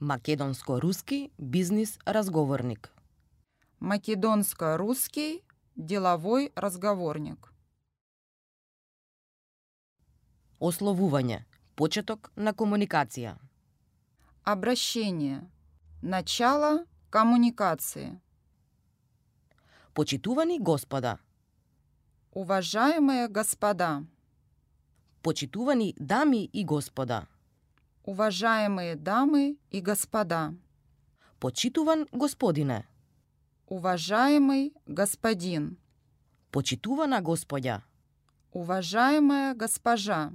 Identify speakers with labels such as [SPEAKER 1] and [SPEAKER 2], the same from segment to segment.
[SPEAKER 1] Македонско-руски бизнис разговорник.
[SPEAKER 2] Македонско-русский деловой разговорник.
[SPEAKER 1] Ословување. Почеток на комуникација.
[SPEAKER 2] Обращение. Начало коммуникации.
[SPEAKER 1] Почитувани господа.
[SPEAKER 2] Уважаемые господа,
[SPEAKER 1] Почитувани дами и господа.
[SPEAKER 2] уважаемые дамы и господа,
[SPEAKER 1] Почитуван господине.
[SPEAKER 2] уважаемый господин,
[SPEAKER 1] Почитувана господја.
[SPEAKER 2] уважаемая госпожа,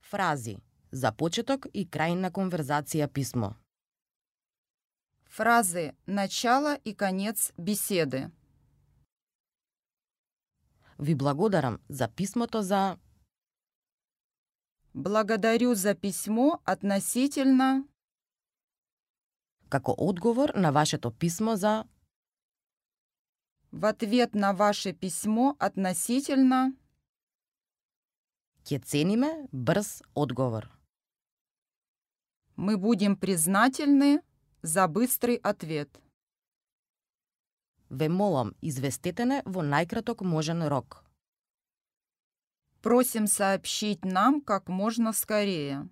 [SPEAKER 1] Фрази. За почеток и крај на конверзација писмо.
[SPEAKER 2] фразы «начало» и «конец» беседы.
[SPEAKER 1] Ви благодарам за писмото за...
[SPEAKER 2] Благодарю за письмо относительно
[SPEAKER 1] Како одговор на вашето писмо за...
[SPEAKER 2] в ответ на ваше письмо относительно
[SPEAKER 1] Ке цениме брз одговор.
[SPEAKER 2] мы будем признательны за быстрый ответ.
[SPEAKER 1] Ве молам, известете не во најкраток можен рок.
[SPEAKER 2] Просим сообщить нам как можно скорее.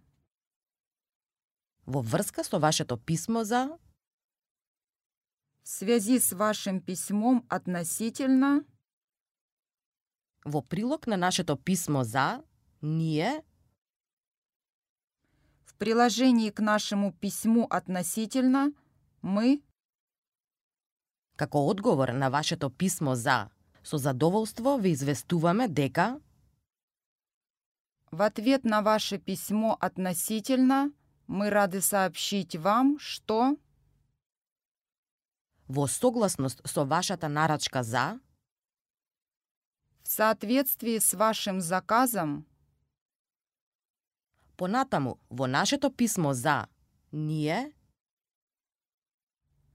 [SPEAKER 1] Во врска со вашето писмо за...
[SPEAKER 2] В связи с вашим письмом относительно
[SPEAKER 1] Во прилог на нашето писмо за... Ние
[SPEAKER 2] в приложении к нашему письму относительно мы
[SPEAKER 1] Како одговор на вашето писмо за, со задоволство ви известуваме дека
[SPEAKER 2] в ответ на ваше письмо относительно мы рады сообщить вам, что
[SPEAKER 1] во согласност со вашата нарачка за,
[SPEAKER 2] в соответствии с вашим заказом
[SPEAKER 1] понатаму во нашето писмо за, ние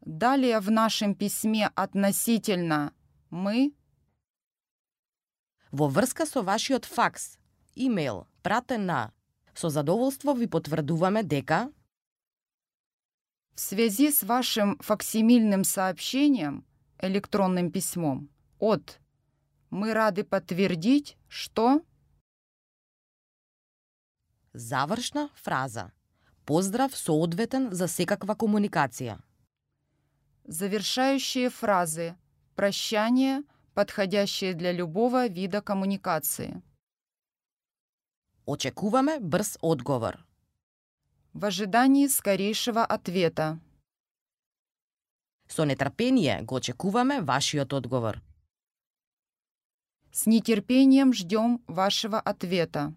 [SPEAKER 2] далее в нашем письме относительно мы
[SPEAKER 1] во врска со вашиот факс, имейл, пратен на, со задоволство ви потврдуваме дека
[SPEAKER 2] в связи с вашим факсимильным сообщением электронным письмом от мы рады подтвердить, что
[SPEAKER 1] завршна фраза. Поздрав соодветен за секаква комуникација.
[SPEAKER 2] Завершающие фразы. Прощание, подходящее для любого вида коммуникации.
[SPEAKER 1] Очекуваме брз одговор.
[SPEAKER 2] В ожидании скорейшего ответа.
[SPEAKER 1] Со нетрпение го очекуваме вашиот одговор.
[SPEAKER 2] С нетерпением ждем вашего ответа.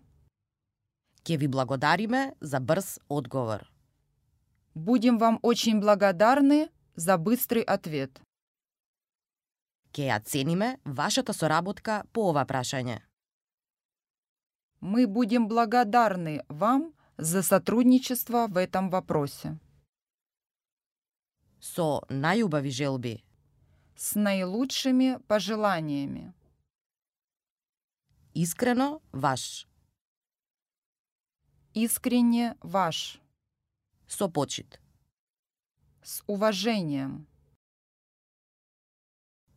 [SPEAKER 1] Ќе ви благодариме за брз одговор.
[SPEAKER 2] Будем вам очень благодарны за быстрый ответ.
[SPEAKER 1] Ќе ја цениме вашата соработка по ова прашање.
[SPEAKER 2] Мы будем благодарны вам за сотрудничество в этом вопросе.
[SPEAKER 1] Со најубави желби,
[SPEAKER 2] С наилучшими пожеланиями.
[SPEAKER 1] искрено ваш,
[SPEAKER 2] Искренне ваш.
[SPEAKER 1] со почит,
[SPEAKER 2] С уважением.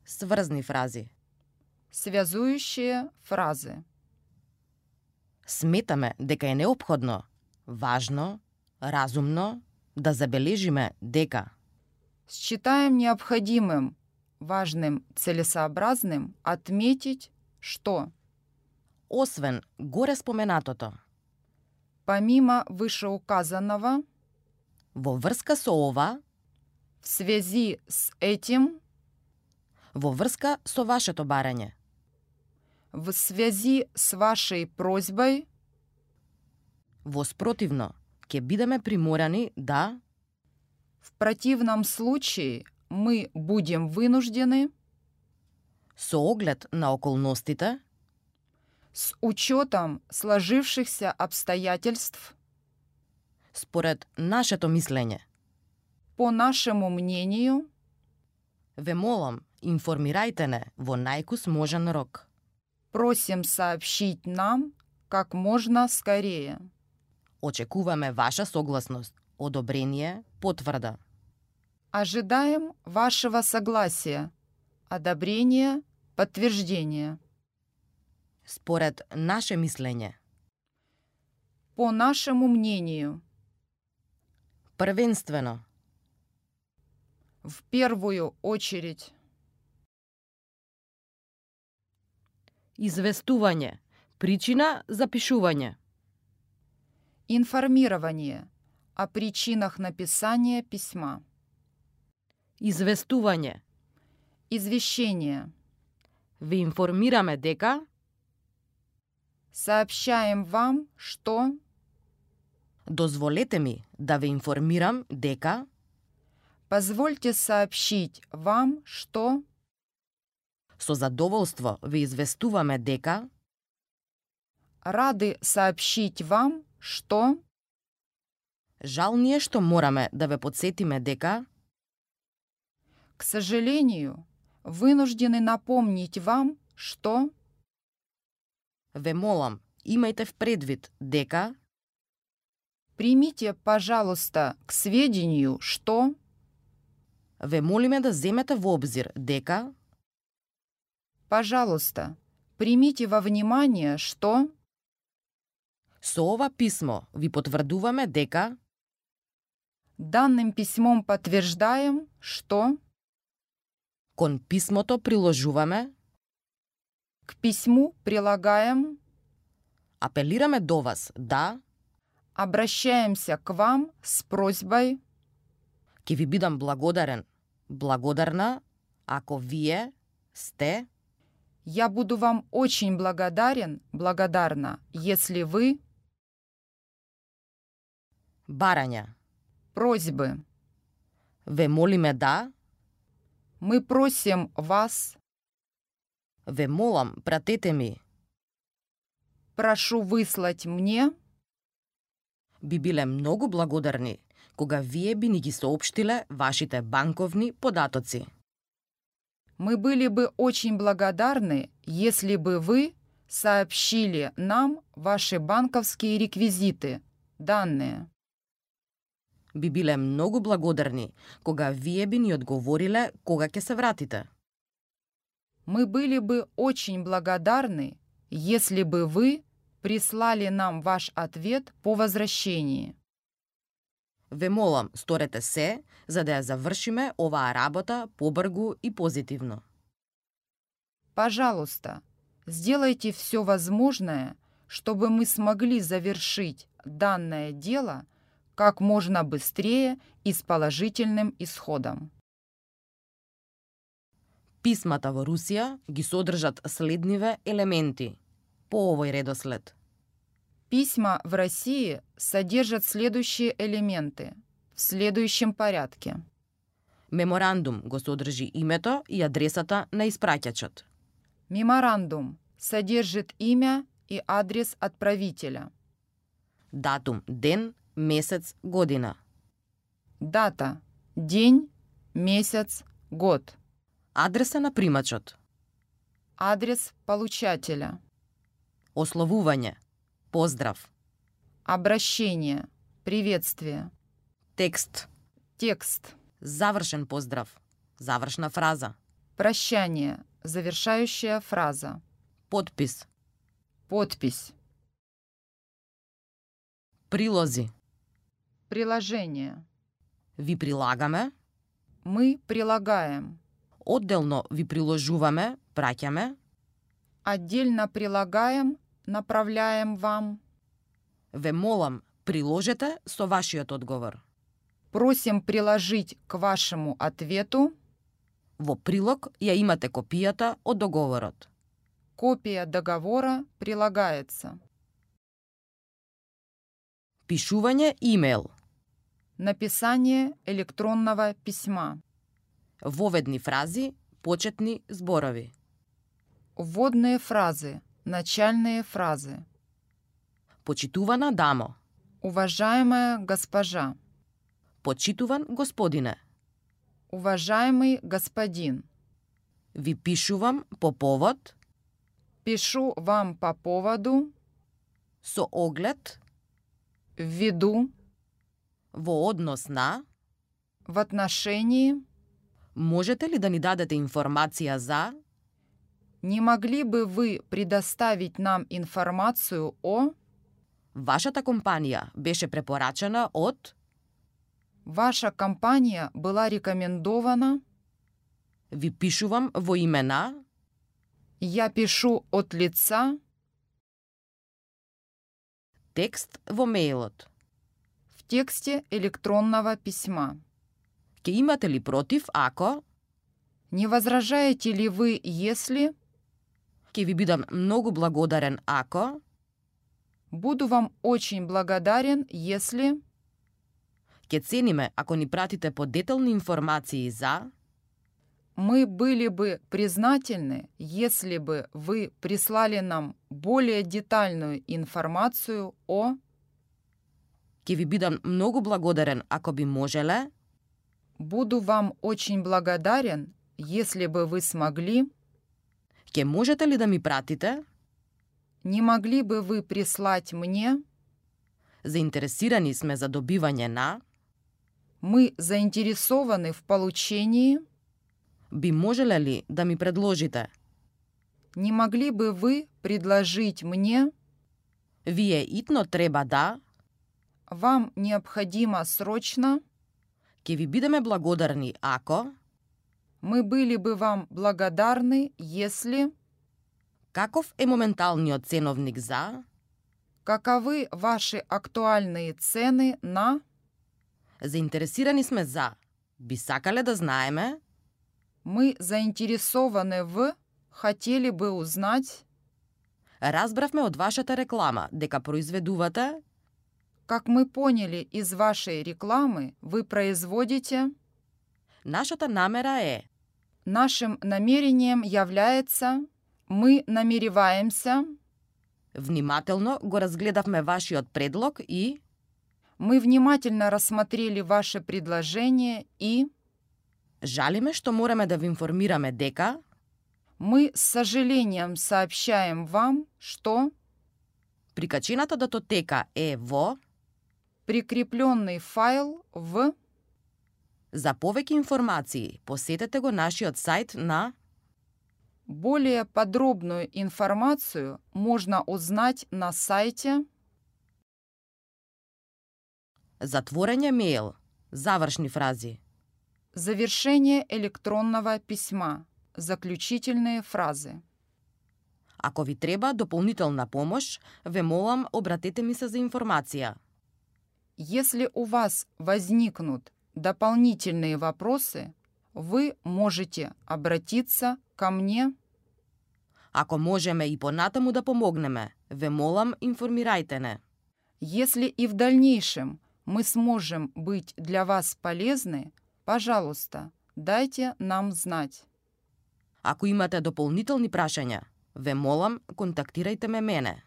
[SPEAKER 1] сврзни фрази.
[SPEAKER 2] Связующие фразы.
[SPEAKER 1] Сметаме дека е необходно, важно, разумно да забележиме дека
[SPEAKER 2] Считаем необходимым, важным, целесообразным отметить, что
[SPEAKER 1] освен горе споменатото,
[SPEAKER 2] помимо вышеуказанного,
[SPEAKER 1] во врска со ова,
[SPEAKER 2] в связи с этим,
[SPEAKER 1] во врска со вашето барање,
[SPEAKER 2] в связи с вашей просьбой,
[SPEAKER 1] во спротивно, ќе бидеме приморани да
[SPEAKER 2] в противном случае мы будем вынуждены
[SPEAKER 1] со оглед на околностите,
[SPEAKER 2] с учетом сложившихся обстоятельств,
[SPEAKER 1] според нашето мислење.
[SPEAKER 2] по нашему мнению,
[SPEAKER 1] Ве молам, информирајте не во најкус можен рок.
[SPEAKER 2] просим сообщить нам как можно скорее.
[SPEAKER 1] Очекуваме ваша согласност, одобрение, потврда.
[SPEAKER 2] Ожидаем вашего согласия, одобрения, подтверждения.
[SPEAKER 1] Според наше мислење,
[SPEAKER 2] По нашему мнению,
[SPEAKER 1] првенствено,
[SPEAKER 2] в первую очередь,
[SPEAKER 1] известување, причина за пишување,
[SPEAKER 2] информирование о причинах написания письма,
[SPEAKER 1] известување,
[SPEAKER 2] извещение.
[SPEAKER 1] ви информираме дека
[SPEAKER 2] Сообщаем вам, что
[SPEAKER 1] Дозволете ми да ве информирам дека
[SPEAKER 2] позвольте сообщить вам, что
[SPEAKER 1] со задоволство ве известуваме дека
[SPEAKER 2] рады сообщить вам, что
[SPEAKER 1] жал ни е што мораме да ве подсетиме дека
[SPEAKER 2] К сожалению, вынуждены напомнить вам, что
[SPEAKER 1] ве молам имајте в предвид дека
[SPEAKER 2] примите, пожалуйста, к сведению, что
[SPEAKER 1] ве молиме да земете во обзир дека
[SPEAKER 2] пожалуйста, примите во внимание, что
[SPEAKER 1] со ова писмо ви потврдуваме дека
[SPEAKER 2] данным письмом подтверждаем, что
[SPEAKER 1] кон писмото приложуваме
[SPEAKER 2] к письму прилагаем,
[SPEAKER 1] апелираме до вас да
[SPEAKER 2] обращаемся к вам с просьбой
[SPEAKER 1] ќе ви бидам благодарен благодарна ако вие сте
[SPEAKER 2] «Я буду вам очень благодарен, благодарна, если вы
[SPEAKER 1] барања
[SPEAKER 2] просьбы.
[SPEAKER 1] ве молиме да
[SPEAKER 2] Мы просим вас,
[SPEAKER 1] Ве молам, пратете ми.
[SPEAKER 2] прошу выслать мне
[SPEAKER 1] Би биле многу благодарни кога вие би ни ги соопштиле вашите банковни податоци.
[SPEAKER 2] Мы были бы очень благодарны, если бы вы сообщили нам ваши банковские реквизиты, данные.
[SPEAKER 1] Би биле многу благодарни кога вие би ни одговориле кога ќе се вратите.
[SPEAKER 2] Мы были бы очень благодарны, если бы вы прислали нам ваш ответ по возвращении.
[SPEAKER 1] Ве молам, сторете се за да ја завршиме оваа работа побргу и позитивно.
[SPEAKER 2] Пожалуйста, сделайте все возможное, чтобы мы смогли завершить данное дело как можно быстрее и с положительным исходом.
[SPEAKER 1] Писмата во Русија ги содржат следниве елементи. По овој редослед.
[SPEAKER 2] Письма в России содержат следующие элементы в следующем порядке.
[SPEAKER 1] Меморандум го содржи името и адресата на испраќачот.
[SPEAKER 2] Меморандум содержит имя и адрес отправителя,
[SPEAKER 1] датум, ден, месец, година,
[SPEAKER 2] дата, день, месяц, год,
[SPEAKER 1] адреса на примачот,
[SPEAKER 2] адрес получателя,
[SPEAKER 1] ословување, поздрав,
[SPEAKER 2] обращение, приветствие,
[SPEAKER 1] текст,
[SPEAKER 2] текст,
[SPEAKER 1] завршен поздрав, завршна фраза,
[SPEAKER 2] прощание, завершающая фраза,
[SPEAKER 1] подпис,
[SPEAKER 2] подпись,
[SPEAKER 1] прилози.
[SPEAKER 2] приложение.
[SPEAKER 1] Ви прилагаме,
[SPEAKER 2] Мы прилагаем,
[SPEAKER 1] одделно ви приложуваме, праќаме,
[SPEAKER 2] отдельно прилагаем, направляем вам.
[SPEAKER 1] ве молам, приложете со вашиот одговор.
[SPEAKER 2] Просим приложить к вашему ответу
[SPEAKER 1] Во прилог ја имате копијата од договорот.
[SPEAKER 2] копия договора прилагается.
[SPEAKER 1] Пишување имейл,
[SPEAKER 2] Написание электронного письма.
[SPEAKER 1] воведни фрази, почетни зборови,
[SPEAKER 2] Вводные фразы. Начальные фразы.
[SPEAKER 1] почитувана дамо,
[SPEAKER 2] Уважаемая госпожа.
[SPEAKER 1] почитуван господине,
[SPEAKER 2] Уважаемый господин.
[SPEAKER 1] ви пишувам по повод,
[SPEAKER 2] Пишу вам по поводу
[SPEAKER 1] со оглед,
[SPEAKER 2] ввиду,
[SPEAKER 1] Во однос на,
[SPEAKER 2] в отношении,
[SPEAKER 1] можете ли да ни дадете информација за,
[SPEAKER 2] не могли бы вы предоставить нам информацию о
[SPEAKER 1] вашата компанија беше препорачена од,
[SPEAKER 2] «Ваша компания была рекомендована,
[SPEAKER 1] ви пишувам во име на,
[SPEAKER 2] я пишу от лица,
[SPEAKER 1] текст во мејлот.
[SPEAKER 2] в тексте электронного письма».
[SPEAKER 1] Ке имате ли против ако,
[SPEAKER 2] Не возражаете ли вы, если
[SPEAKER 1] ке ви бидам многу благодарен ако,
[SPEAKER 2] буду вам очень благодарен, если
[SPEAKER 1] ке цениме ако ни пратите по детални информации за,
[SPEAKER 2] мы были бы признательны, если бы вы прислали нам более детальную информацию о
[SPEAKER 1] ке ви бидам многу благодарен ако би можеле,
[SPEAKER 2] «Буду вам очень благодарен, если бы вы смогли».
[SPEAKER 1] ке можете ли да ми пратите,
[SPEAKER 2] Не могли бы вы прислать мне?
[SPEAKER 1] заинтересирани сме за добивање на,
[SPEAKER 2] Мы заинтересованы в получении.
[SPEAKER 1] би можеле ли да ми предложите,
[SPEAKER 2] Не могли бы вы предложить мне?
[SPEAKER 1] вие итно треба да,
[SPEAKER 2] Вам необходимо срочно.
[SPEAKER 1] ќе ви бидеме благодарни ако,
[SPEAKER 2] Мы были бы вам благодарны, если...
[SPEAKER 1] каков е моменталниот ценовник за,
[SPEAKER 2] Каковы ваши актуальные цены на...
[SPEAKER 1] заинтересирани сме за, би сакале да знаеме,
[SPEAKER 2] Мы заинтересованы в... Хотели бы узнать,
[SPEAKER 1] разбравме од вашата реклама дека произведувате,
[SPEAKER 2] как мы поняли из вашей рекламы, вы производите...
[SPEAKER 1] нашата намера е
[SPEAKER 2] Нашим намерением является... Мы намереваемся...
[SPEAKER 1] Внимателно го разгледавме вашиот предлог и
[SPEAKER 2] Мы внимательно рассмотрели ваше предложение и
[SPEAKER 1] жалиме што мораме да ви информираме дека
[SPEAKER 2] мы с сожалением сообщаем вам, что
[SPEAKER 1] прикачената датотека е во
[SPEAKER 2] прикрепленный файл в
[SPEAKER 1] За повеќе информации посетете го нашиот сајт на
[SPEAKER 2] более подробную информацию можно узнать на сайте
[SPEAKER 1] Затворење мејл. Завршни фрази.
[SPEAKER 2] «Завершение электронного письма. Заключительные фразы».
[SPEAKER 1] Ако ви треба дополнителна помош, ве молам обратете ми се за информација.
[SPEAKER 2] Если у вас возникнут дополнительные вопросы, вы можете обратиться ко мне
[SPEAKER 1] Ако можеме и понатаму да помогнеме, ве молам информирајте не.
[SPEAKER 2] Если и в дальнейшем мы сможем быть для вас полезны, пожалуйста, дайте нам знать.
[SPEAKER 1] Ако имате дополнителни прашања, ве молам контактирајте ме мене.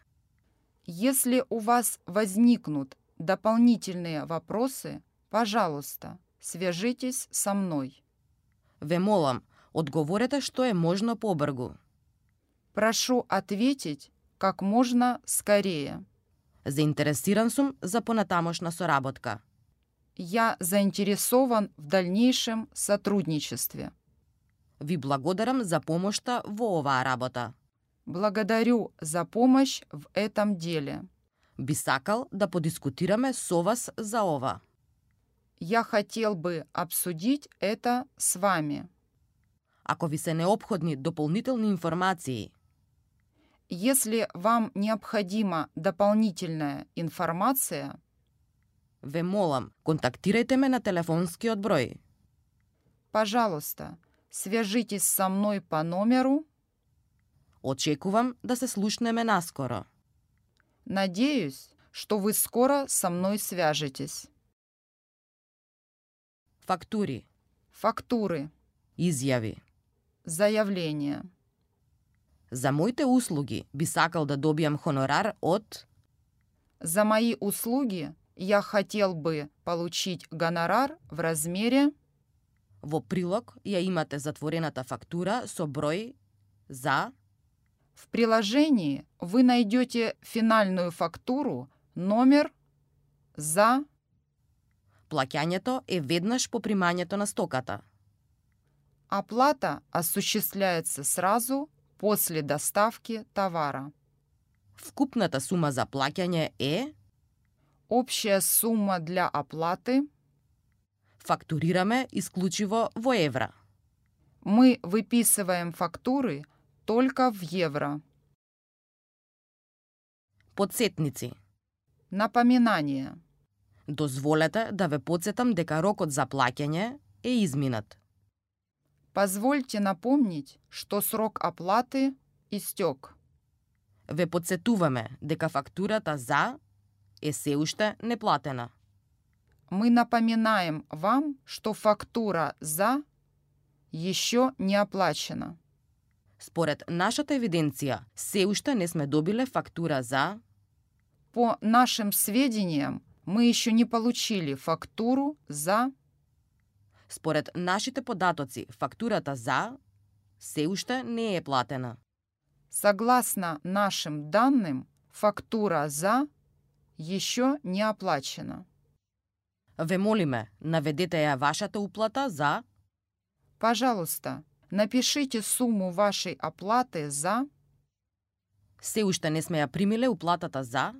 [SPEAKER 2] Если у вас возникнут дополнительные вопросы, пожалуйста, свяжитесь со мной.
[SPEAKER 1] Ве молам, одговорете што е можно побргу.
[SPEAKER 2] Прошу ответить как можно скорее.
[SPEAKER 1] Заинтересиран сум за понатамошна соработка.
[SPEAKER 2] Я заинтересован в дальнейшем сотрудничестве.
[SPEAKER 1] Ви благодарам за помошта во оваа работа.
[SPEAKER 2] Благодарю за помощь в этом деле.
[SPEAKER 1] Би сакал да подискутираме со вас за ова.
[SPEAKER 2] Я хотел бы обсудить это с вами.
[SPEAKER 1] Ако ви се необходни дополнителни информации,
[SPEAKER 2] Если вам необходима дополнительная информация,
[SPEAKER 1] ве молам, контактирајте ме на телефонскиот број
[SPEAKER 2] пожалуйста, свяжитесь со мной по номеру.
[SPEAKER 1] Очекувам да се слушнеме наскоро.
[SPEAKER 2] Надеюсь, что вы скоро со мной свяжетесь.
[SPEAKER 1] Фактури,
[SPEAKER 2] Фактуры,
[SPEAKER 1] изјави.
[SPEAKER 2] заявления.
[SPEAKER 1] За моите услуги би сакал да добијам хонорар од
[SPEAKER 2] За мои услуги я хотел бы получить гонорар в размере.
[SPEAKER 1] во прилог ја имате затворената фактура со број за
[SPEAKER 2] В приложении вы найдете финальную фактуру, номер за
[SPEAKER 1] Плаќањето е веднаш по примањето на стоката.
[SPEAKER 2] оплата осуществляется сразу после доставки товара.
[SPEAKER 1] Вкупната сума за плаќање е
[SPEAKER 2] Общая сумма для оплаты
[SPEAKER 1] фактурираме исклучиво во евра.
[SPEAKER 2] мы выписываем фактуры только в евро.
[SPEAKER 1] Подсетници.
[SPEAKER 2] Напоминание.
[SPEAKER 1] Дозволете да ве подсетам дека рокот за плаќање е изминат.
[SPEAKER 2] Позвольте напомнить, что срок оплаты истек.
[SPEAKER 1] Ве подсетуваме дека фактурата за е се уште неплатена.
[SPEAKER 2] Мы напоминаем вам, что фактура за еще не оплачена.
[SPEAKER 1] Според нашата евиденција, се уште не сме добиле фактура за
[SPEAKER 2] По нашим сведениям, мы еще не получили фактуру за
[SPEAKER 1] Според нашите податоци, фактурата за се уште не е платена.
[SPEAKER 2] Согласно нашим данным, фактура за еще не оплачена.
[SPEAKER 1] Ве молиме, наведете ја вашата уплата за
[SPEAKER 2] Пожалуйста, напишите сумму вашей оплаты за
[SPEAKER 1] се уште не сме ја примиле уплатата за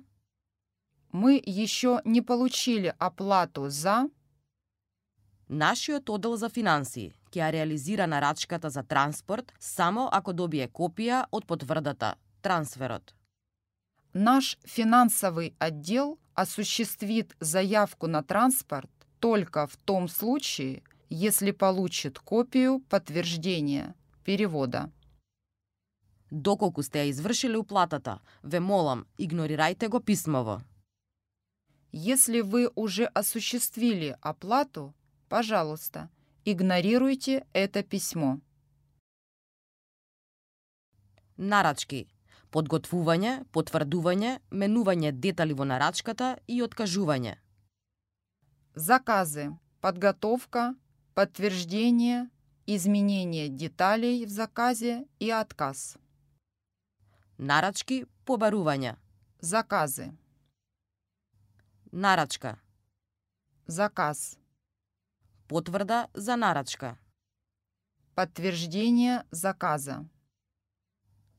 [SPEAKER 2] «Мы еще не получили оплату за
[SPEAKER 1] нашиот оддел за финансии ќе ја реализира нарачката за транспорт само ако добие копија од потврдата трансферот.
[SPEAKER 2] наш финансовый отдел осуществит заявку на транспорт только в том случае, если получит копию подтверждения перевода.
[SPEAKER 1] Доколку сте ја извршиле уплатата, ве молам, игнорирајте го писмово.
[SPEAKER 2] Если вы уже осуществили оплату, пожалуйста, игнорируйте это письмо.
[SPEAKER 1] Нарачки. Подготвување, потврдување, менување детали во нарачката и откажување.
[SPEAKER 2] Заказы, подготовка, подтверждение, изменение деталей в заказе и отказ.
[SPEAKER 1] Нарачки, побарувања.
[SPEAKER 2] Заказы.
[SPEAKER 1] Нарачка.
[SPEAKER 2] Заказ.
[SPEAKER 1] Потврда за нарачка.
[SPEAKER 2] Подтверждение заказа.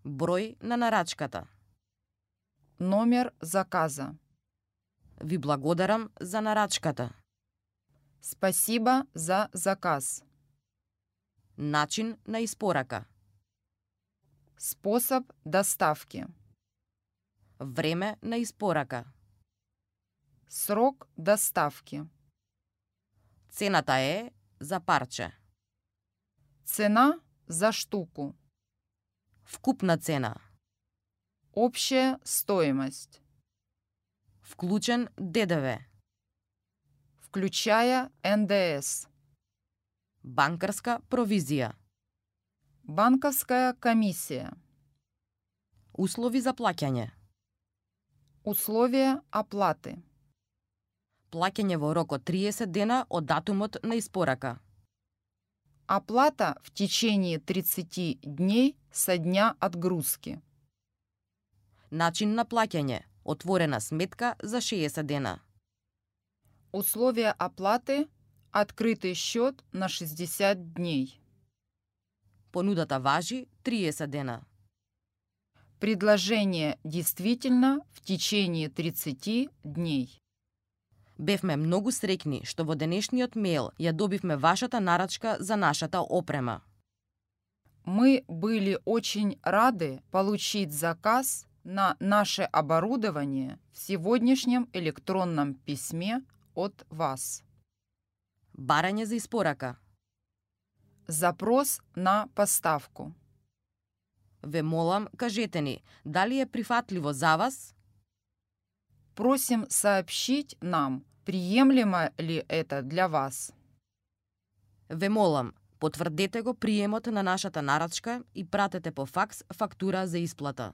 [SPEAKER 1] Број на нарачката.
[SPEAKER 2] Номер заказа.
[SPEAKER 1] Ви благодарам за нарачката.
[SPEAKER 2] Спасибо за заказ.
[SPEAKER 1] Начин на испорака.
[SPEAKER 2] Способ доставки.
[SPEAKER 1] Време на испорака.
[SPEAKER 2] Срок доставки.
[SPEAKER 1] Цената е за парче.
[SPEAKER 2] Цена за штуку.
[SPEAKER 1] Вкупна цена.
[SPEAKER 2] Общая стоимость.
[SPEAKER 1] Вклучен ДДВ.
[SPEAKER 2] Включая НДС.
[SPEAKER 1] Банкарска провизија.
[SPEAKER 2] Банковская комиссия.
[SPEAKER 1] Услови за плаќање.
[SPEAKER 2] Условия оплаты.
[SPEAKER 1] Плаќање во рок од 30 дена од датумот на испорака.
[SPEAKER 2] Оплата в течение 30 дней со дня отгрузки.
[SPEAKER 1] Начин на плаќање. Отворена сметка за 60 дена.
[SPEAKER 2] Условия оплаты – открытый счет на 60 дней.
[SPEAKER 1] Понудата важи 30 дена.
[SPEAKER 2] Предложение действительно в течение 30 дней.
[SPEAKER 1] Бевме многу срекни што во денешниот мејл ја добивме вашата нарачка за нашата опрема.
[SPEAKER 2] Мы были очень рады получить заказ на наше оборудование в сегодняшнем электронном письме от вас.
[SPEAKER 1] Барање за испорака.
[SPEAKER 2] Запрос на поставку.
[SPEAKER 1] Ве молам, кажете ни, дали е прифатливо за вас?
[SPEAKER 2] Просим сообщить нам, приемлемо ли это для вас.
[SPEAKER 1] Ве молам, потврдете го приемот на нашата нарачка и пратете по факс фактура за исплата.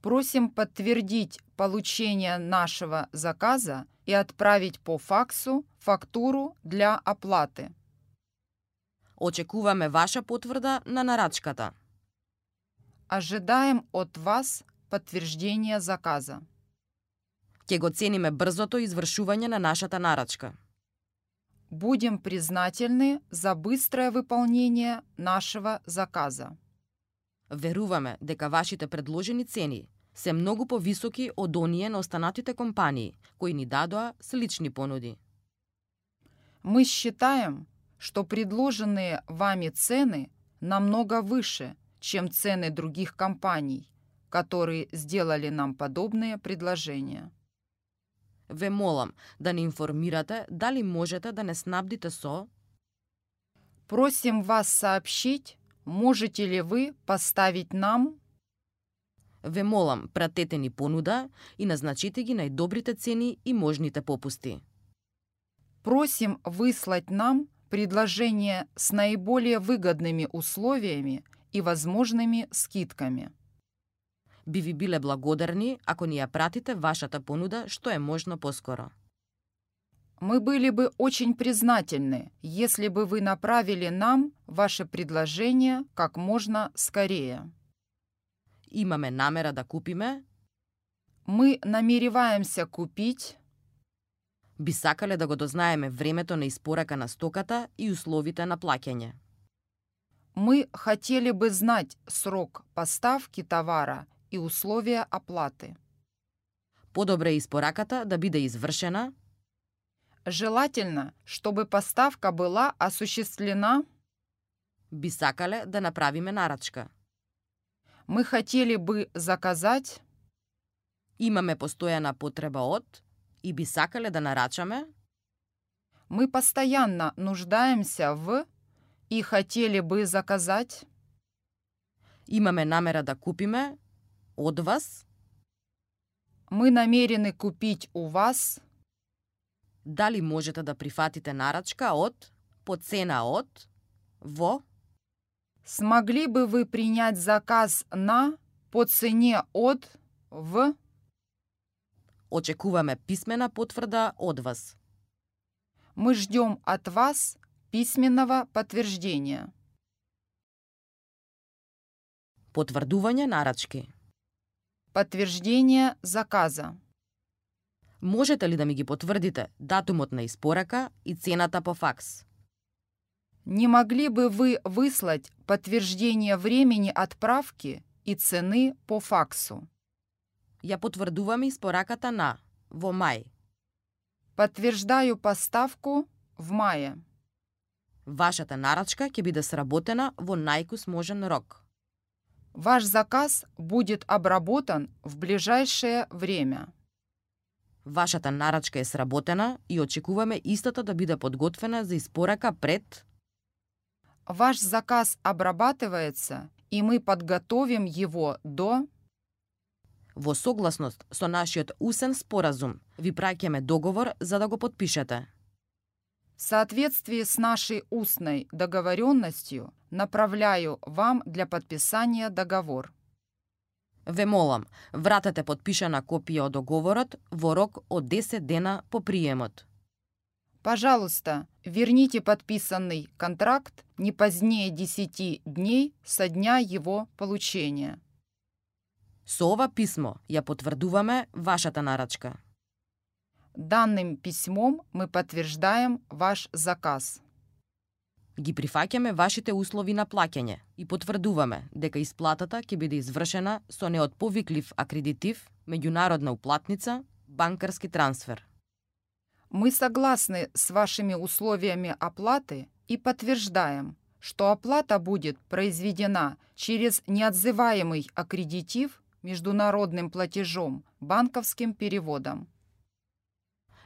[SPEAKER 2] Просим подтвердить получение нашего заказа и отправить по факсу фактуру для оплаты.
[SPEAKER 1] Очекуваме ваша потврда на нарачката.
[SPEAKER 2] Ожидаем от вас подтверждения заказа.
[SPEAKER 1] Ќе го цениме брзото извршување на нашата нарачка.
[SPEAKER 2] Будем признательны за быстрое выполнение нашего заказа.
[SPEAKER 1] Веруваме дека вашите предложени цени се многу повисоки од оние на останатите компании кои ни дадоа слични понуди.
[SPEAKER 2] Мы считаем, что предложенные вами цены намного выше, чем цены других компаний, которые сделали нам подобные предложения.
[SPEAKER 1] Ве молам да не информирате дали можете да не снабдите со
[SPEAKER 2] Просим вас сообщить, можете ли вы поставить нам
[SPEAKER 1] Ве молам, пратете ни понуда и назначете ги најдобрите цени и можните попусти.
[SPEAKER 2] Просим выслать нам предложение с наиболее выгодными условиями и возможными скидками.
[SPEAKER 1] Би ви биле благодарни ако ни ја пратите вашата понуда што е можно поскоро.
[SPEAKER 2] Мы были бы очень признательны, если бы вы направили нам ваше предложение как можно скорее.
[SPEAKER 1] Имаме намера да купиме,
[SPEAKER 2] Мы намереваемся купить,
[SPEAKER 1] би сакале да го дознаеме времето на испорака на стоката и условите на плаќање.
[SPEAKER 2] мы хотели бы знать срок поставки товара и условия оплаты.
[SPEAKER 1] Подобре е испораката да биде извршена,
[SPEAKER 2] Желательно, чтобы поставка была осуществлена,
[SPEAKER 1] би сакале да направиме нарачка.
[SPEAKER 2] мы хотели бы заказать,
[SPEAKER 1] Имаме постојана потреба од и би сакале да нарачаме,
[SPEAKER 2] мы постоянно нуждаемся в и хотели бы заказать,
[SPEAKER 1] имаме намера да купиме од вас,
[SPEAKER 2] мы намерены купить у вас,
[SPEAKER 1] дали можете да прифатите нарачка од, по цена од, во,
[SPEAKER 2] смогли бы вы принять заказ на по цене от в,
[SPEAKER 1] очекуваме писмена потврда од вас.
[SPEAKER 2] мы ждем от вас письменного подтверждения.
[SPEAKER 1] Потврдување нарачки.
[SPEAKER 2] Подтверждение заказа.
[SPEAKER 1] Можете ли да ми ги потврдите датумот на испорака и цената по факс?
[SPEAKER 2] Не могли бы вы выслать подтверждение времени отправки и цены по факсу?
[SPEAKER 1] Ја потврдуваме испораката на во мај.
[SPEAKER 2] Подтверждаю поставку в мае.
[SPEAKER 1] Вашата нарачка ќе биде сработена во најкус можен рок.
[SPEAKER 2] Ваш заказ будет обработан в ближайшее время.
[SPEAKER 1] Вашата нарачка е сработена и очекуваме истата да биде подготвена за испорака пред
[SPEAKER 2] Ваш заказ обрабатывается, и мы подготовим его до...
[SPEAKER 1] во согласност со нашиот усен споразум. Ви праќаме договор за да го подпишете.
[SPEAKER 2] В соответствии с нашей устной договоренностью направляю вам для подписания договор.
[SPEAKER 1] Ве молам, вратете подпишана копија од договорот во рок од 10 дена по приемот.
[SPEAKER 2] Пожалуйста, верните подписанный контракт не позднее 10 дней со дня его получения.
[SPEAKER 1] Со ова писмо ја потврдуваме вашата нарачка.
[SPEAKER 2] Данным письмом мы подтверждаем ваш заказ.
[SPEAKER 1] Ги прифаќаме вашите услови на плаќање и потврдуваме дека исплатата ќе биде извршена со неотповиклив акредитив, меѓународна уплатница, банкарски трансфер.
[SPEAKER 2] Мы согласны с вашими условиями оплаты и подтверждаем, что оплата будет произведена через неотзываемый аккредитив международным платежом, банковским переводом.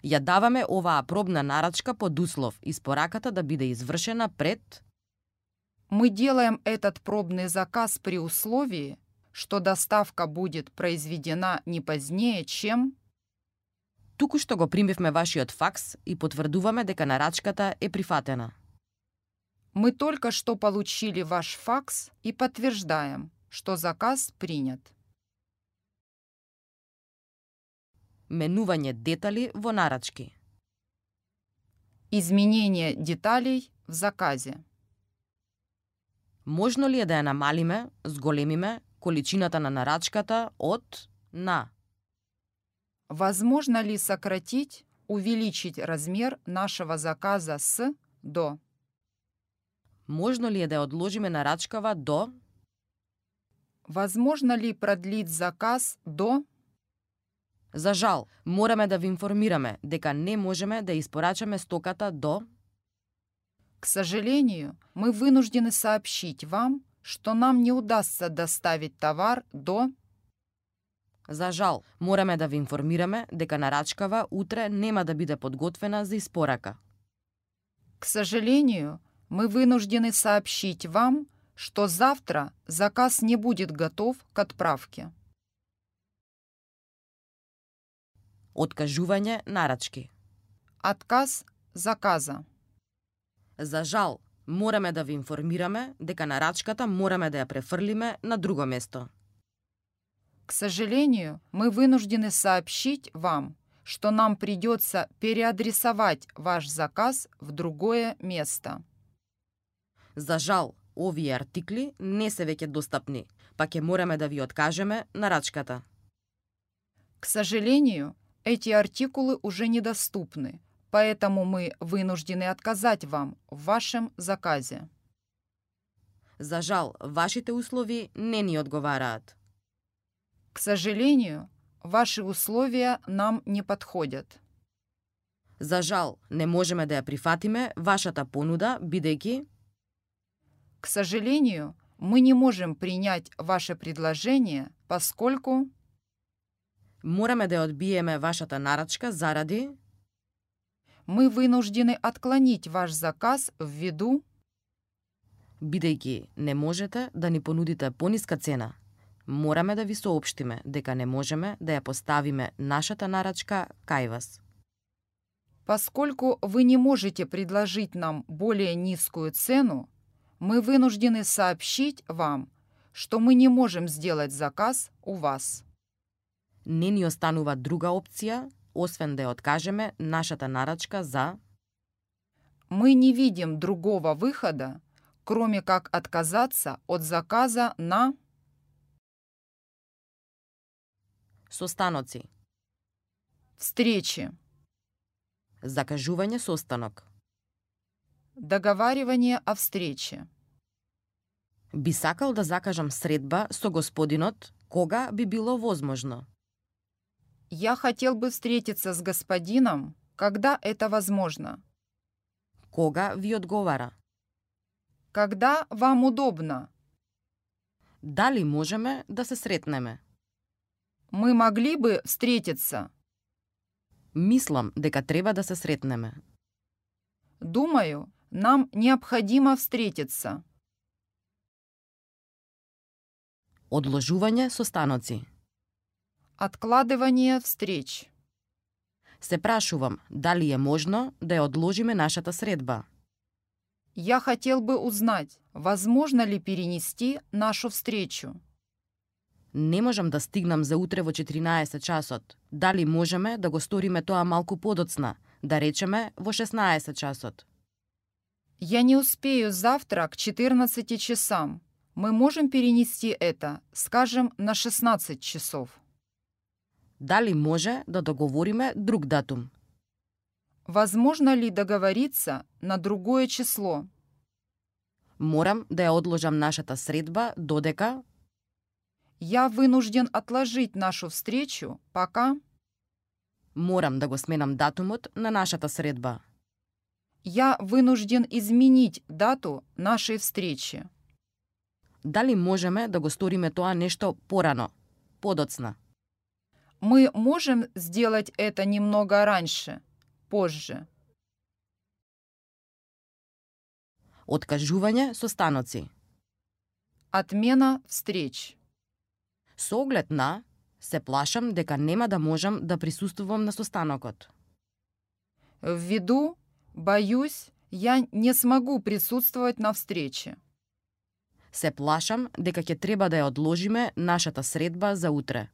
[SPEAKER 1] Ја даваме оваа пробна нарачка под услов испораката да биде извршена пред
[SPEAKER 2] Мы делаем этот пробный заказ при условии, что доставка будет произведена не позднее, чем
[SPEAKER 1] туку што го примивме вашиот факс и потврдуваме дека нарачката е прифатена.
[SPEAKER 2] мы только что получили ваш факс и подтверждаем, что заказ принят.
[SPEAKER 1] Менување детали во нарачки.
[SPEAKER 2] Изменение деталей в заказе.
[SPEAKER 1] Можно ли е да ја намалиме, зголемиме, количината на нарачката од на
[SPEAKER 2] Возможно ли сократить, увеличить размер нашего заказа с до?
[SPEAKER 1] Можно ли е да ја одложиме нарачкава до
[SPEAKER 2] Возможно ли продлить заказ до?
[SPEAKER 1] За жал, мораме да ви информираме дека не можеме да испорачаме стоката до
[SPEAKER 2] К сожалению, мы вынуждены сообщить вам, что нам не удастся доставить товар до...
[SPEAKER 1] За жал, мораме да ви информираме дека нарачкава утре нема да биде подготвена за испорака.
[SPEAKER 2] К сожалению, мы вынуждены сообщить вам, что завтра заказ не будет готов к отправке.
[SPEAKER 1] Откажување нарачки.
[SPEAKER 2] Отказ заказа.
[SPEAKER 1] За жал, мораме да ви информираме дека нарачката мораме да ја префрлиме на друго место.
[SPEAKER 2] К сожалению, мы вынуждены сообщить вам, что нам придется переадресовать ваш заказ в другое место.
[SPEAKER 1] За жал, овие артикли не се веќе достапни, па ќе мораме да ви откажеме нарачката.
[SPEAKER 2] К сожалению, эти артикулы уже недоступны, поэтому мы вынуждены отказать вам в вашем заказе.
[SPEAKER 1] За жал, вашите услови не ни одговараат.
[SPEAKER 2] К сожалению, ваши условия нам не подходят.
[SPEAKER 1] За жал, не можеме да ја прифатиме вашата понуда, бидејќи
[SPEAKER 2] К сожалению, мы не можем принять ваше предложение, поскольку...
[SPEAKER 1] мораме да ја одбиеме вашата нарачка заради
[SPEAKER 2] мы вынуждены отклонить ваш заказ ввиду...
[SPEAKER 1] бидејќи не можете да ни понудите пониска цена. Мораме да ви соопштиме дека не можеме да ја поставиме нашата нарачка кај вас.
[SPEAKER 2] Поскольку вы не можете предложить нам более низкую цену, мы вынуждены сообщить вам, что мы не можем сделать заказ у вас.
[SPEAKER 1] Не ни останува друга опција, освен да ја откажеме нашата нарачка за
[SPEAKER 2] Мы не видим другого выхода, кроме как отказаться от заказа на...
[SPEAKER 1] состаноци,
[SPEAKER 2] Встречи.
[SPEAKER 1] закажување состанок,
[SPEAKER 2] Договаривание о встрече.
[SPEAKER 1] би сакал да закажам средба со господинот, кога би било возможно?
[SPEAKER 2] Я хотел бы встретиться с господином, когда это возможно.
[SPEAKER 1] Кога ви одговара?
[SPEAKER 2] Когда вам удобно.
[SPEAKER 1] Дали можеме да се сретнеме?
[SPEAKER 2] Мы могли бы встретиться.
[SPEAKER 1] Мислам дека треба да се сретнеме.
[SPEAKER 2] Думаю, нам необходимо встретиться.
[SPEAKER 1] Одложување состаноци.
[SPEAKER 2] Откладывание встреч.
[SPEAKER 1] Се прашувам дали е можно да ја одложиме нашата средба.
[SPEAKER 2] Я хотел бы узнать, возможно ли перенести нашу встречу.
[SPEAKER 1] Не можам да стигнам за утре во 14 часот. Дали можеме да го сториме тоа малку подоцна, да речеме во 16 часот.
[SPEAKER 2] Я не успею завтра к 14 часам. Мы можем перенести это, скажем, на 16 часов.
[SPEAKER 1] Дали може да договориме друг датум.
[SPEAKER 2] Возможно ли договориться на другое число?
[SPEAKER 1] Морам да ја одложам нашата средба додека
[SPEAKER 2] Я вынужден отложить нашу встречу, пока
[SPEAKER 1] морам да го сменам датумот на нашата средба.
[SPEAKER 2] я вынужден изменить дату нашей встречи.
[SPEAKER 1] Дали можеме да го сториме тоа нешто порано, подоцна.
[SPEAKER 2] Мы можем сделать это немного раньше, позже.
[SPEAKER 1] Откажување состаноци.
[SPEAKER 2] Отмена встреч.
[SPEAKER 1] Со оглед на, се плашам дека нема да можам да присуствувам на состанокот.
[SPEAKER 2] Ввиду, боюсь, я не смогу присутствовать на встрече.
[SPEAKER 1] Се плашам дека ќе треба да ја одложиме нашата средба за утре.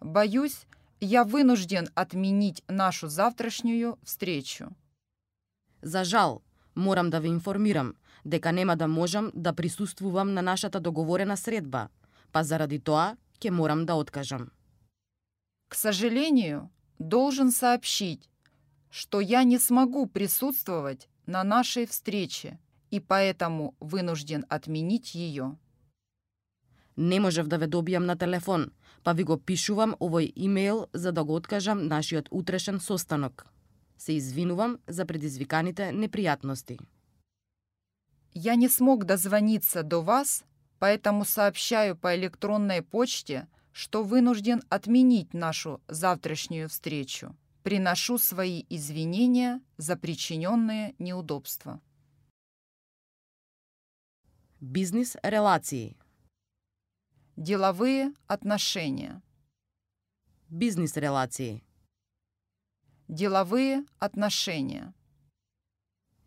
[SPEAKER 2] Боюсь, я вынужден отменить нашу завтрашнюю встречу.
[SPEAKER 1] За жал, морам да ве информирам дека нема да можам да присуствувам на нашата договорена средба, па заради тоа ќе морам да откажам.
[SPEAKER 2] К сожалению, должен сообщить, что я не смогу присутствовать на нашей встрече и поэтому вынужден отменить ее.
[SPEAKER 1] Не можев да ве добијам на телефон, па ви го пишувам овој имејл за да го откажам нашиот утрешен состанок. Се извинувам за предизвиканите непријатности.
[SPEAKER 2] Я не смог дозвониться до вас, поэтому сообщаю по электронной почте, что вынужден отменить нашу завтрашнюю встречу. Приношу свои извинения за причиненные неудобства.
[SPEAKER 1] Бизнис релации.
[SPEAKER 2] Деловые отношения.
[SPEAKER 1] Бизнис релации.
[SPEAKER 2] Деловые отношения.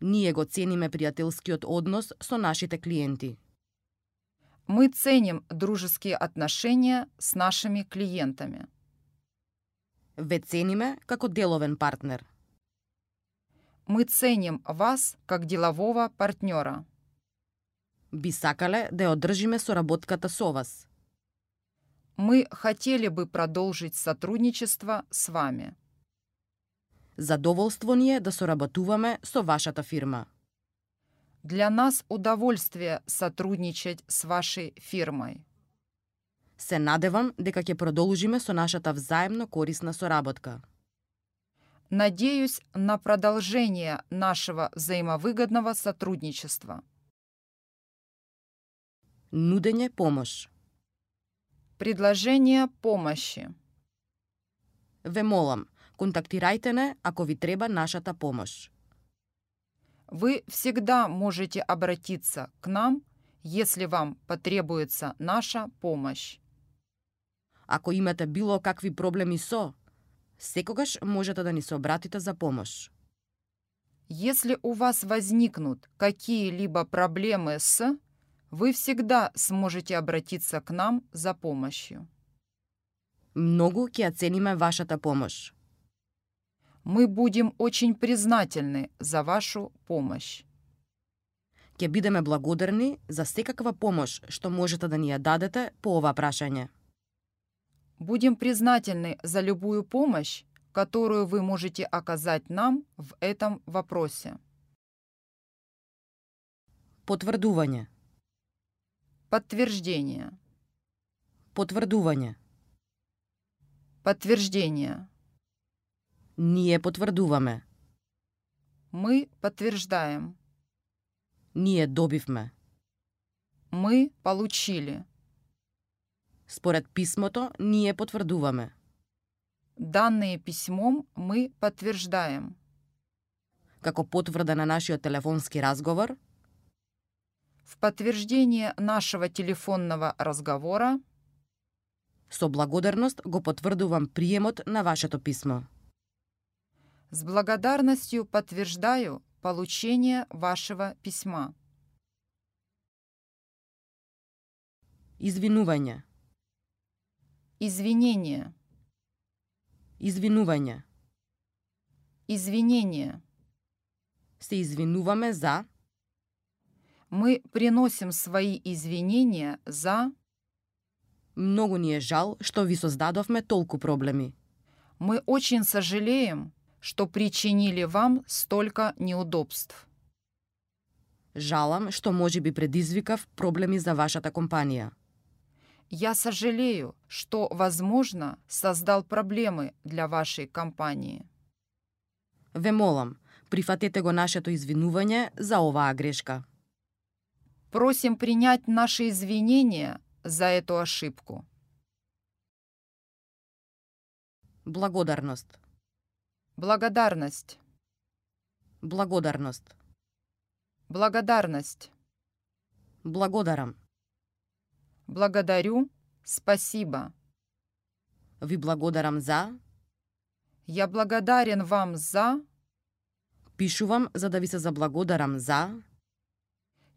[SPEAKER 1] Ние го цениме пријателскиот однос со нашите клиенти.
[SPEAKER 2] Мы ценим дружеские отношения с нашими клиентами.
[SPEAKER 1] Ве цениме како деловен партнер.
[SPEAKER 2] Мы ценим вас как делового партнера.
[SPEAKER 1] Би сакале да ја одржиме соработката со вас.
[SPEAKER 2] Мы хотели бы продолжить сотрудничество с вами.
[SPEAKER 1] Задоволство ни е да соработуваме со вашата фирма.
[SPEAKER 2] Для нас удовольствие сотрудничать с вашей фирмой.
[SPEAKER 1] Се надевам дека ќе продолжиме со нашата взаимно корисна соработка.
[SPEAKER 2] Надеюсь на продолжение нашего взаимовыгодного сотрудничества.
[SPEAKER 1] Нудење помош.
[SPEAKER 2] Предложение помощи.
[SPEAKER 1] Ве молам, контактирајте не ако ви треба нашата помош.
[SPEAKER 2] Вы всегда можете обратиться к нам, если вам потребуется наша помощь.
[SPEAKER 1] Ако имате било какви проблеми со, секогаш можете да ни се обратите за помош.
[SPEAKER 2] Если у вас возникнут какие-либо проблемы с, вы всегда сможете обратиться к нам за помощью.
[SPEAKER 1] Многу ќе ја цениме вашата помош.
[SPEAKER 2] Мы будем очень признательны за вашу помощь.
[SPEAKER 1] Ќе бидеме благодарни за секаква помош што можете да ни ја дадете по ова прашање.
[SPEAKER 2] Будем признательны за любую помощь, которую вы можете оказать нам в этом вопросе.
[SPEAKER 1] Потврдување,
[SPEAKER 2] Подтверждение.
[SPEAKER 1] потврдување.
[SPEAKER 2] Подтверждение.
[SPEAKER 1] Ние потврдуваме.
[SPEAKER 2] Мы подтверждаем.
[SPEAKER 1] Ние добивме.
[SPEAKER 2] Мы получили.
[SPEAKER 1] Според писмото, ние потврдуваме.
[SPEAKER 2] Данные письмом мы подтверждаем.
[SPEAKER 1] Како потврда на нашиот телефонски разговор,
[SPEAKER 2] В подтверждение нашего телефонного разговора
[SPEAKER 1] со благодарност го потврдувам приемот на вашето писмо.
[SPEAKER 2] с благодарностью подтверждаю получение вашего письма.
[SPEAKER 1] Извинување,
[SPEAKER 2] Извинение.
[SPEAKER 1] извинување.
[SPEAKER 2] Извинение.
[SPEAKER 1] Се извинуваме за
[SPEAKER 2] Мы приносим свои извинения за...
[SPEAKER 1] Многу ни е жал што ви создадовме толку проблеми.
[SPEAKER 2] Мы очень сожалеем, что причинили вам столько неудобств.
[SPEAKER 1] Жалам што може би предизвикав проблеми за вашата компанија.
[SPEAKER 2] Я сожалею, что, возможно, создал проблемы для вашей компании.
[SPEAKER 1] Ве молам, прифатете го нашето извинување за оваа грешка.
[SPEAKER 2] Просим принять наши извинения за эту ошибку.
[SPEAKER 1] Благодарност,
[SPEAKER 2] Благодарность.
[SPEAKER 1] благодарност,
[SPEAKER 2] Благодарность.
[SPEAKER 1] благодарам.
[SPEAKER 2] Благодарю. Спасибо.
[SPEAKER 1] Ви благодарам за,
[SPEAKER 2] Я благодарен вам за...
[SPEAKER 1] пишувам за да ви се заблагодарам за,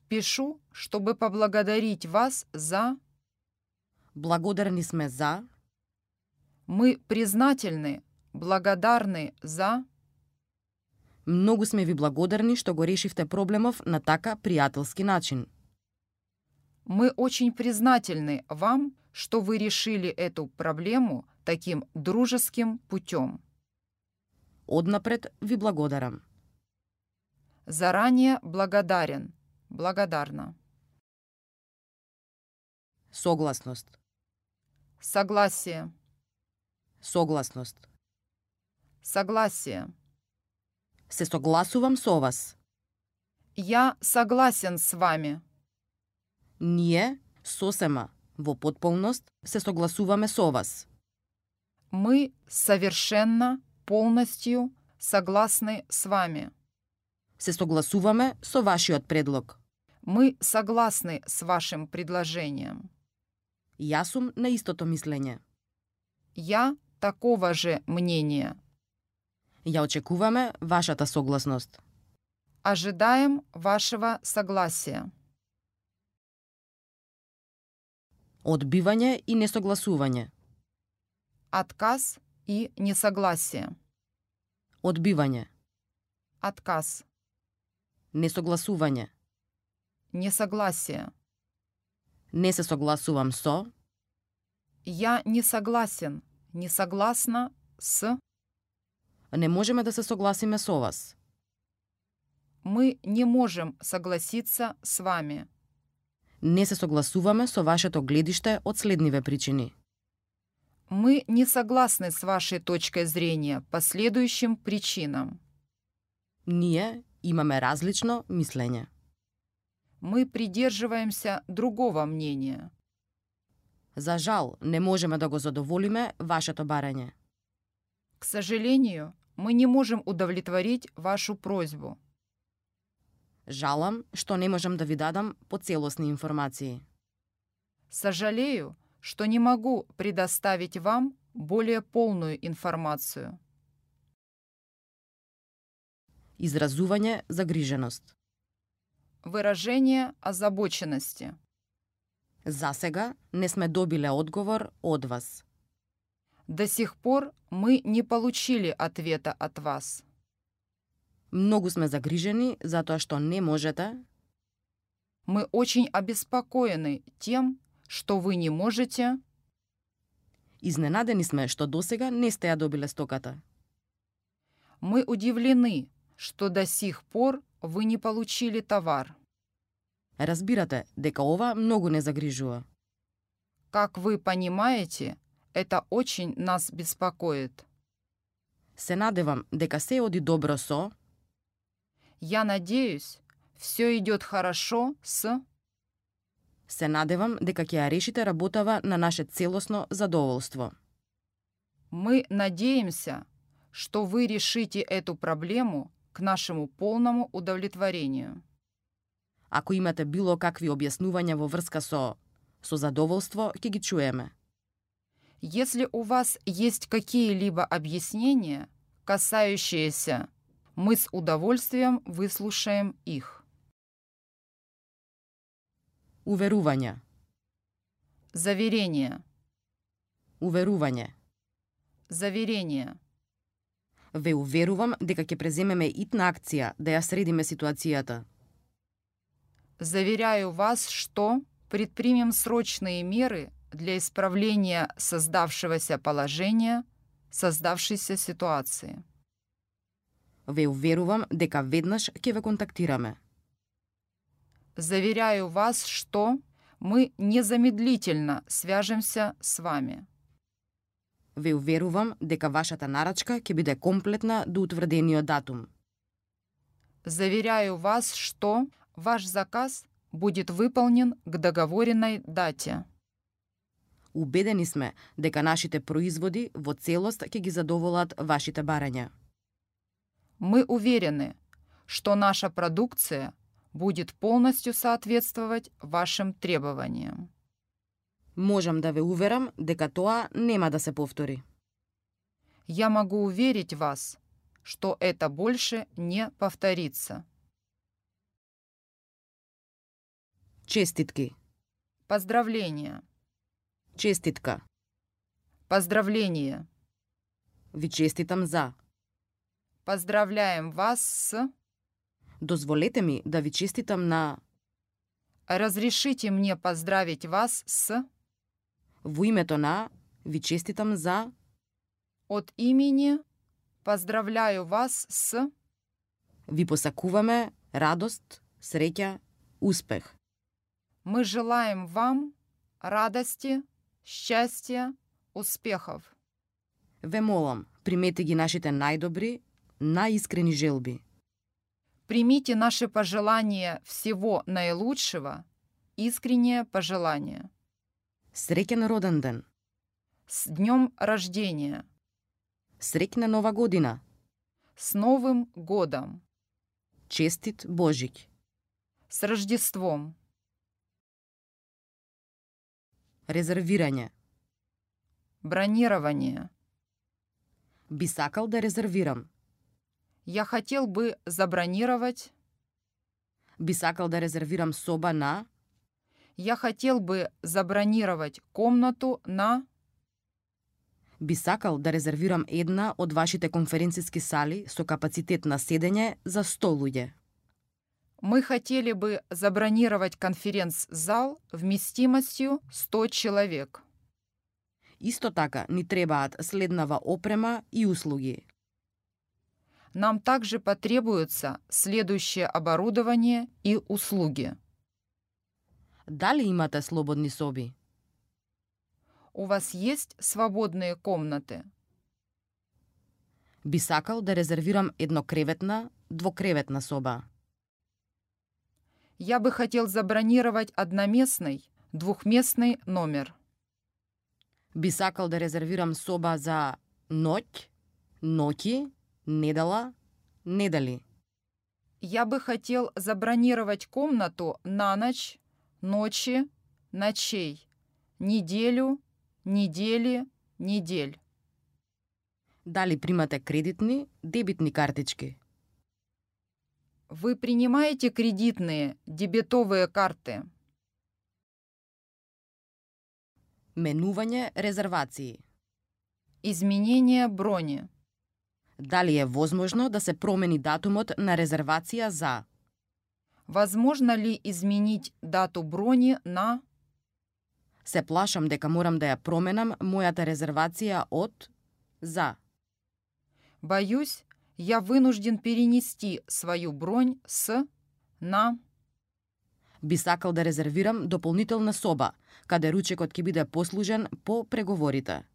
[SPEAKER 2] Пишу, чтобы поблагодарить вас за...
[SPEAKER 1] благодарни сме за,
[SPEAKER 2] Мы признательны, благодарны за...
[SPEAKER 1] многу сме ви благодарни што го решивте проблемов на така пријателски начин.
[SPEAKER 2] Мы очень признательны вам, что вы решили эту проблему таким дружеским путем.
[SPEAKER 1] Однапред ви благодарам.
[SPEAKER 2] Заранее благодарен. Благодарна.
[SPEAKER 1] Согласност.
[SPEAKER 2] Согласие.
[SPEAKER 1] Согласност.
[SPEAKER 2] Согласие.
[SPEAKER 1] Се согласувам со вас.
[SPEAKER 2] Я согласен с вами.
[SPEAKER 1] Ние, сосема, во потполност, се согласуваме со вас.
[SPEAKER 2] Мы совершенно, полностью согласны с вами.
[SPEAKER 1] Се согласуваме со вашиот предлог.
[SPEAKER 2] Мы согласны с вашим предложением.
[SPEAKER 1] Јас сум на истото мислење.
[SPEAKER 2] Я такого же мнения.
[SPEAKER 1] Ја очекуваме вашата согласност.
[SPEAKER 2] Ожидаем вашего согласия.
[SPEAKER 1] Одбивање и несогласување.
[SPEAKER 2] Отказ и несогласие.
[SPEAKER 1] Одбивање.
[SPEAKER 2] Отказ.
[SPEAKER 1] Несогласување.
[SPEAKER 2] Несогласие.
[SPEAKER 1] Не се согласувам со.
[SPEAKER 2] Я не согласен. Не согласна с.
[SPEAKER 1] Не можеме да се согласиме со вас.
[SPEAKER 2] Мы не можем согласиться с вами.
[SPEAKER 1] Не се согласуваме со вашето гледиште од следниве причини.
[SPEAKER 2] Мы не согласны с вашей точкой зрения по следующим причинам.
[SPEAKER 1] Ние имаме различно мислење.
[SPEAKER 2] Мы придерживаемся другого мнения.
[SPEAKER 1] За жал, не можеме да го задоволиме вашето барање.
[SPEAKER 2] К сожалению, мы не можем удовлетворить вашу просьбу.
[SPEAKER 1] Жалам што не можам да ви дадам поцелосни информации.
[SPEAKER 2] Сожалею, что не могу предоставить вам более полную информацию.
[SPEAKER 1] Изразување загриженост.
[SPEAKER 2] Выражение озабоченности.
[SPEAKER 1] За сега не сме добиле одговор од вас.
[SPEAKER 2] До сих пор мы не получили ответа от вас.
[SPEAKER 1] Многу сме загрижени затоа што не можете,
[SPEAKER 2] Мы очень обеспокоены тем, что вы не можете,
[SPEAKER 1] изненадени сме што досега не сте ја добиле стоката.
[SPEAKER 2] мы удивлены, что до сих пор вы не получили товар.
[SPEAKER 1] Разбирате дека ова многу не загрижува.
[SPEAKER 2] Как вы понимаете, это очень нас беспокоит.
[SPEAKER 1] Се надевам дека се оди добро со,
[SPEAKER 2] Я надеюсь, все идет хорошо с...
[SPEAKER 1] се надевам дека ќе ја решите работава на наше целосно задоволство.
[SPEAKER 2] Мы надеемся, что вы решите эту проблему к нашему полному удовлетворению.
[SPEAKER 1] Ако имате било какви објаснувања во врска со со задоволство ќе ги чуеме.
[SPEAKER 2] Если у вас есть какие-либо объяснения, касающиеся, мы с удовольствием выслушаем их.
[SPEAKER 1] Уверување,
[SPEAKER 2] Заверение.
[SPEAKER 1] уверување.
[SPEAKER 2] Заверение.
[SPEAKER 1] Ве уверувам дека ќе преземеме итна акција да ја средиме ситуацијата.
[SPEAKER 2] Заверяю вас, что предпримем срочные меры для исправления создавшегося положения, создавшейся ситуации.
[SPEAKER 1] Ве уверувам дека веднаш ќе ве контактираме.
[SPEAKER 2] Заверяю вас, что мы незамедлительно свяжемся с вами.
[SPEAKER 1] Ве уверувам дека вашата нарачка ќе биде комплетна до утврдениот датум.
[SPEAKER 2] Заверяю вас, что ваш заказ будет выполнен к договоренной дате.
[SPEAKER 1] Убедени сме дека нашите производи во целост ќе ги задоволат вашите барања.
[SPEAKER 2] Мы уверены, что наша продукция будет полностью соответствовать вашим требованиям.
[SPEAKER 1] Можам да ве уверам дека тоа нема да се повтори.
[SPEAKER 2] Я могу уверить вас, что это больше не повторится.
[SPEAKER 1] Честитки,
[SPEAKER 2] Поздравления.
[SPEAKER 1] честитка,
[SPEAKER 2] Поздравление.
[SPEAKER 1] ви честитам за.
[SPEAKER 2] Поздравляем вас с...
[SPEAKER 1] Дозволете ми да ви честитам на
[SPEAKER 2] Разрешите мне поздравить вас с...
[SPEAKER 1] во името на ви честитам за
[SPEAKER 2] От имени поздравляю вас с...
[SPEAKER 1] Ви посакуваме радост, среќа, успех.
[SPEAKER 2] Мы желаем вам радости, счастья, успехов.
[SPEAKER 1] Ве молам, примете ги нашите најдобри, најискрени желби.
[SPEAKER 2] Примите наши пожелания всего наилучшего, искреннее пожелание.
[SPEAKER 1] Среќен роден ден,
[SPEAKER 2] С днем рождения,
[SPEAKER 1] среќна нова година,
[SPEAKER 2] с Новым годом,
[SPEAKER 1] честит Божик.
[SPEAKER 2] с Рождеством,
[SPEAKER 1] Резервирање.
[SPEAKER 2] бронирование.
[SPEAKER 1] Би сакал да резервирам.
[SPEAKER 2] Я хотел бы забронировать,
[SPEAKER 1] Би сакал да резервирам соба на
[SPEAKER 2] я хотел бы забронировать комнату на...
[SPEAKER 1] би сакал да резервирам една од вашите конференциски сали со капацитет на седење за 100 луѓе.
[SPEAKER 2] Мы хотели бы забронировать конференц-зал вместимостью 100 человек.
[SPEAKER 1] Исто така ни требаат следнава опрема и услуги.
[SPEAKER 2] Нам также потребуется следующее оборудование и услуги.
[SPEAKER 1] Дали имате слободни соби?
[SPEAKER 2] У вас есть свободные комнаты?
[SPEAKER 1] Би сакал да резервирам еднокреветна, двокреветна соба.
[SPEAKER 2] Я бы хотел забронировать одноместный, двухместный номер.
[SPEAKER 1] Би сакал да резервирам соба за ноќ, ноќи, недела, недели.
[SPEAKER 2] Я бы хотел забронировать комнату на ночь, ночи, ночей, неделю, недели, недель.
[SPEAKER 1] Дали примате кредитни, дебитни картички?
[SPEAKER 2] Вы принимаете кредитные, дебетовые карты?
[SPEAKER 1] Менување резервации.
[SPEAKER 2] Изменение брони.
[SPEAKER 1] Дали е возможно да се промени датумот на резервација за
[SPEAKER 2] Возможно ли изменить дату брони на
[SPEAKER 1] Се плашам дека морам да ја променам мојата резервација од за
[SPEAKER 2] «Боюсь, я вынужден перенести свою бронь с на...»
[SPEAKER 1] би сакал да резервирам дополнителна соба, каде ручекот ќе биде послужен по преговорите.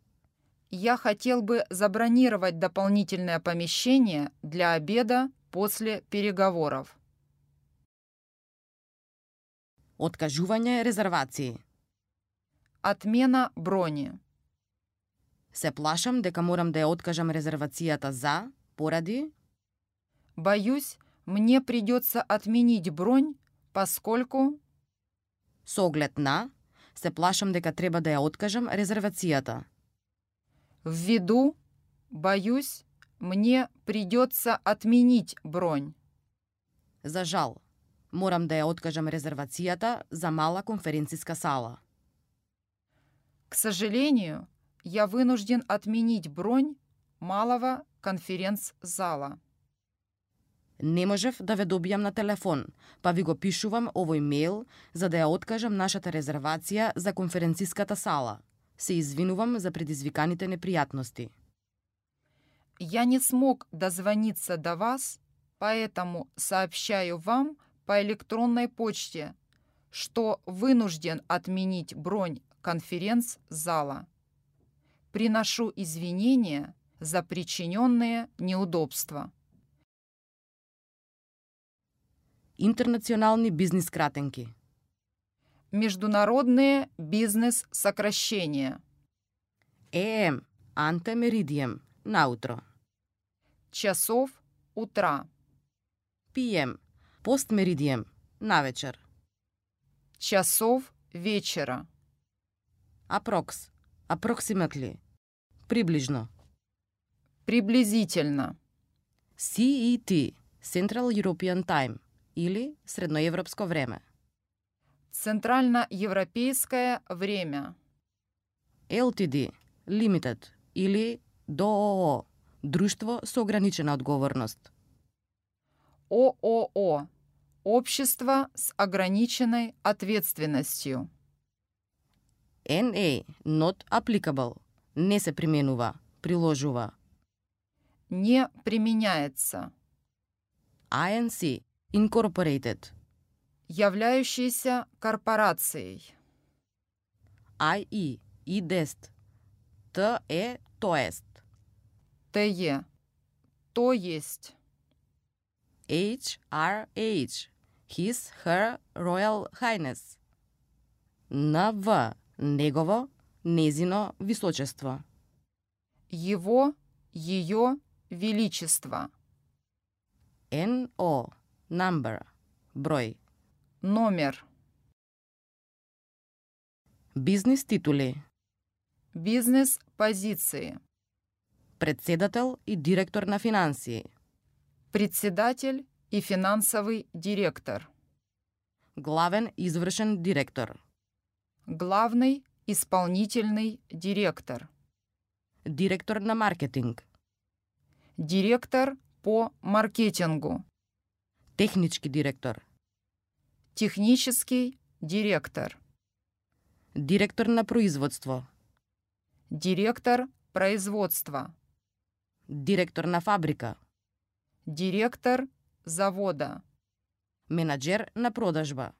[SPEAKER 2] «Я хотел бы забронировать дополнительное помещение для обеда после переговоров».
[SPEAKER 1] Откажување резервации.
[SPEAKER 2] «Отмена брони».
[SPEAKER 1] Се плашам дека морам да ја откажам резервацијата за поради
[SPEAKER 2] «Боюсь, мне придется отменить бронь, поскольку...»
[SPEAKER 1] со оглед на се плашам дека треба да ја откажам резервацијата.
[SPEAKER 2] «Ввиду...» «Боюсь, мне придется отменить бронь».
[SPEAKER 1] За жал, морам да ја откажам резервацијата за мала конференциска сала.
[SPEAKER 2] К сожалению, я вынужден отменить бронь малого конференц-зала.
[SPEAKER 1] Не можев да ве добијам на телефон, па ви го пишувам овој мејл за да ја откажам нашата резервација за конференциската сала. Се извинувам за предизвиканите непријатности.
[SPEAKER 2] Я не смог дозвониться до вас, поэтому сообщаю вам по электронной почте, что вынужден отменить бронь конференц-зала. Приношу извинения за причиненные неудобства.
[SPEAKER 1] Интернационални бизнис кратенки.
[SPEAKER 2] Международные бизнес-сокращения.
[SPEAKER 1] ЕМ, Анте Меридием, наутро.
[SPEAKER 2] Часов утра.
[SPEAKER 1] ПМ, Пост Меридием, навечер.
[SPEAKER 2] Часов вечера.
[SPEAKER 1] Апрокс, апроксиматли. Приближно.
[SPEAKER 2] Приблизительно.
[SPEAKER 1] CET, E Central European Time, или Средноевропско време.
[SPEAKER 2] Центральноевропейское время.
[SPEAKER 1] LTD, Limited или ДОО, Друштво со ограничена одговорност.
[SPEAKER 2] ООО. Общество с ограниченной ответственностью.
[SPEAKER 1] NA, Not Applicable, не се применува, приложува.
[SPEAKER 2] Не применяется.
[SPEAKER 1] INC Incorporated,
[SPEAKER 2] Являющийся корпорацией.
[SPEAKER 1] IE IDEST, TE TOEST,
[SPEAKER 2] ТЕ. То есть.
[SPEAKER 1] HRH His Her Royal Highness, NV Негово, Незино Височество,
[SPEAKER 2] Его, ее, величество.
[SPEAKER 1] NO Number Брой,
[SPEAKER 2] Номер.
[SPEAKER 1] Бизнис титули
[SPEAKER 2] Бизнес-позиции.
[SPEAKER 1] Председател и директор на финансии
[SPEAKER 2] Председатель и финансовый директор.
[SPEAKER 1] Главен извршен директор
[SPEAKER 2] Главный исполнительный директор.
[SPEAKER 1] Директор на маркетинг
[SPEAKER 2] Директор по маркетингу.
[SPEAKER 1] Технички директор
[SPEAKER 2] Технический директор.
[SPEAKER 1] Директор на производство,
[SPEAKER 2] Директор производства.
[SPEAKER 1] директор на фабрика,
[SPEAKER 2] Директор завода.
[SPEAKER 1] менаџер на продажба,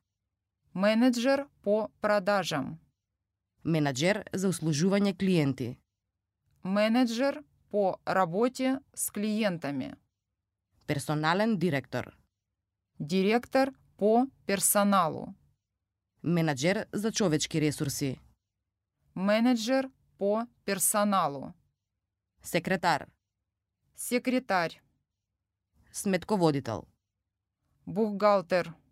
[SPEAKER 2] Менеджер по продажам.
[SPEAKER 1] менаџер за услужување клиенти,
[SPEAKER 2] Менеджер по работе с клиентами.
[SPEAKER 1] персонален директор,
[SPEAKER 2] Директор по персоналу.
[SPEAKER 1] менаџер за човечки ресурси,
[SPEAKER 2] Менеджер по персоналу.
[SPEAKER 1] секретар,
[SPEAKER 2] Секретарь.
[SPEAKER 1] сметководител,
[SPEAKER 2] Бухгалтер.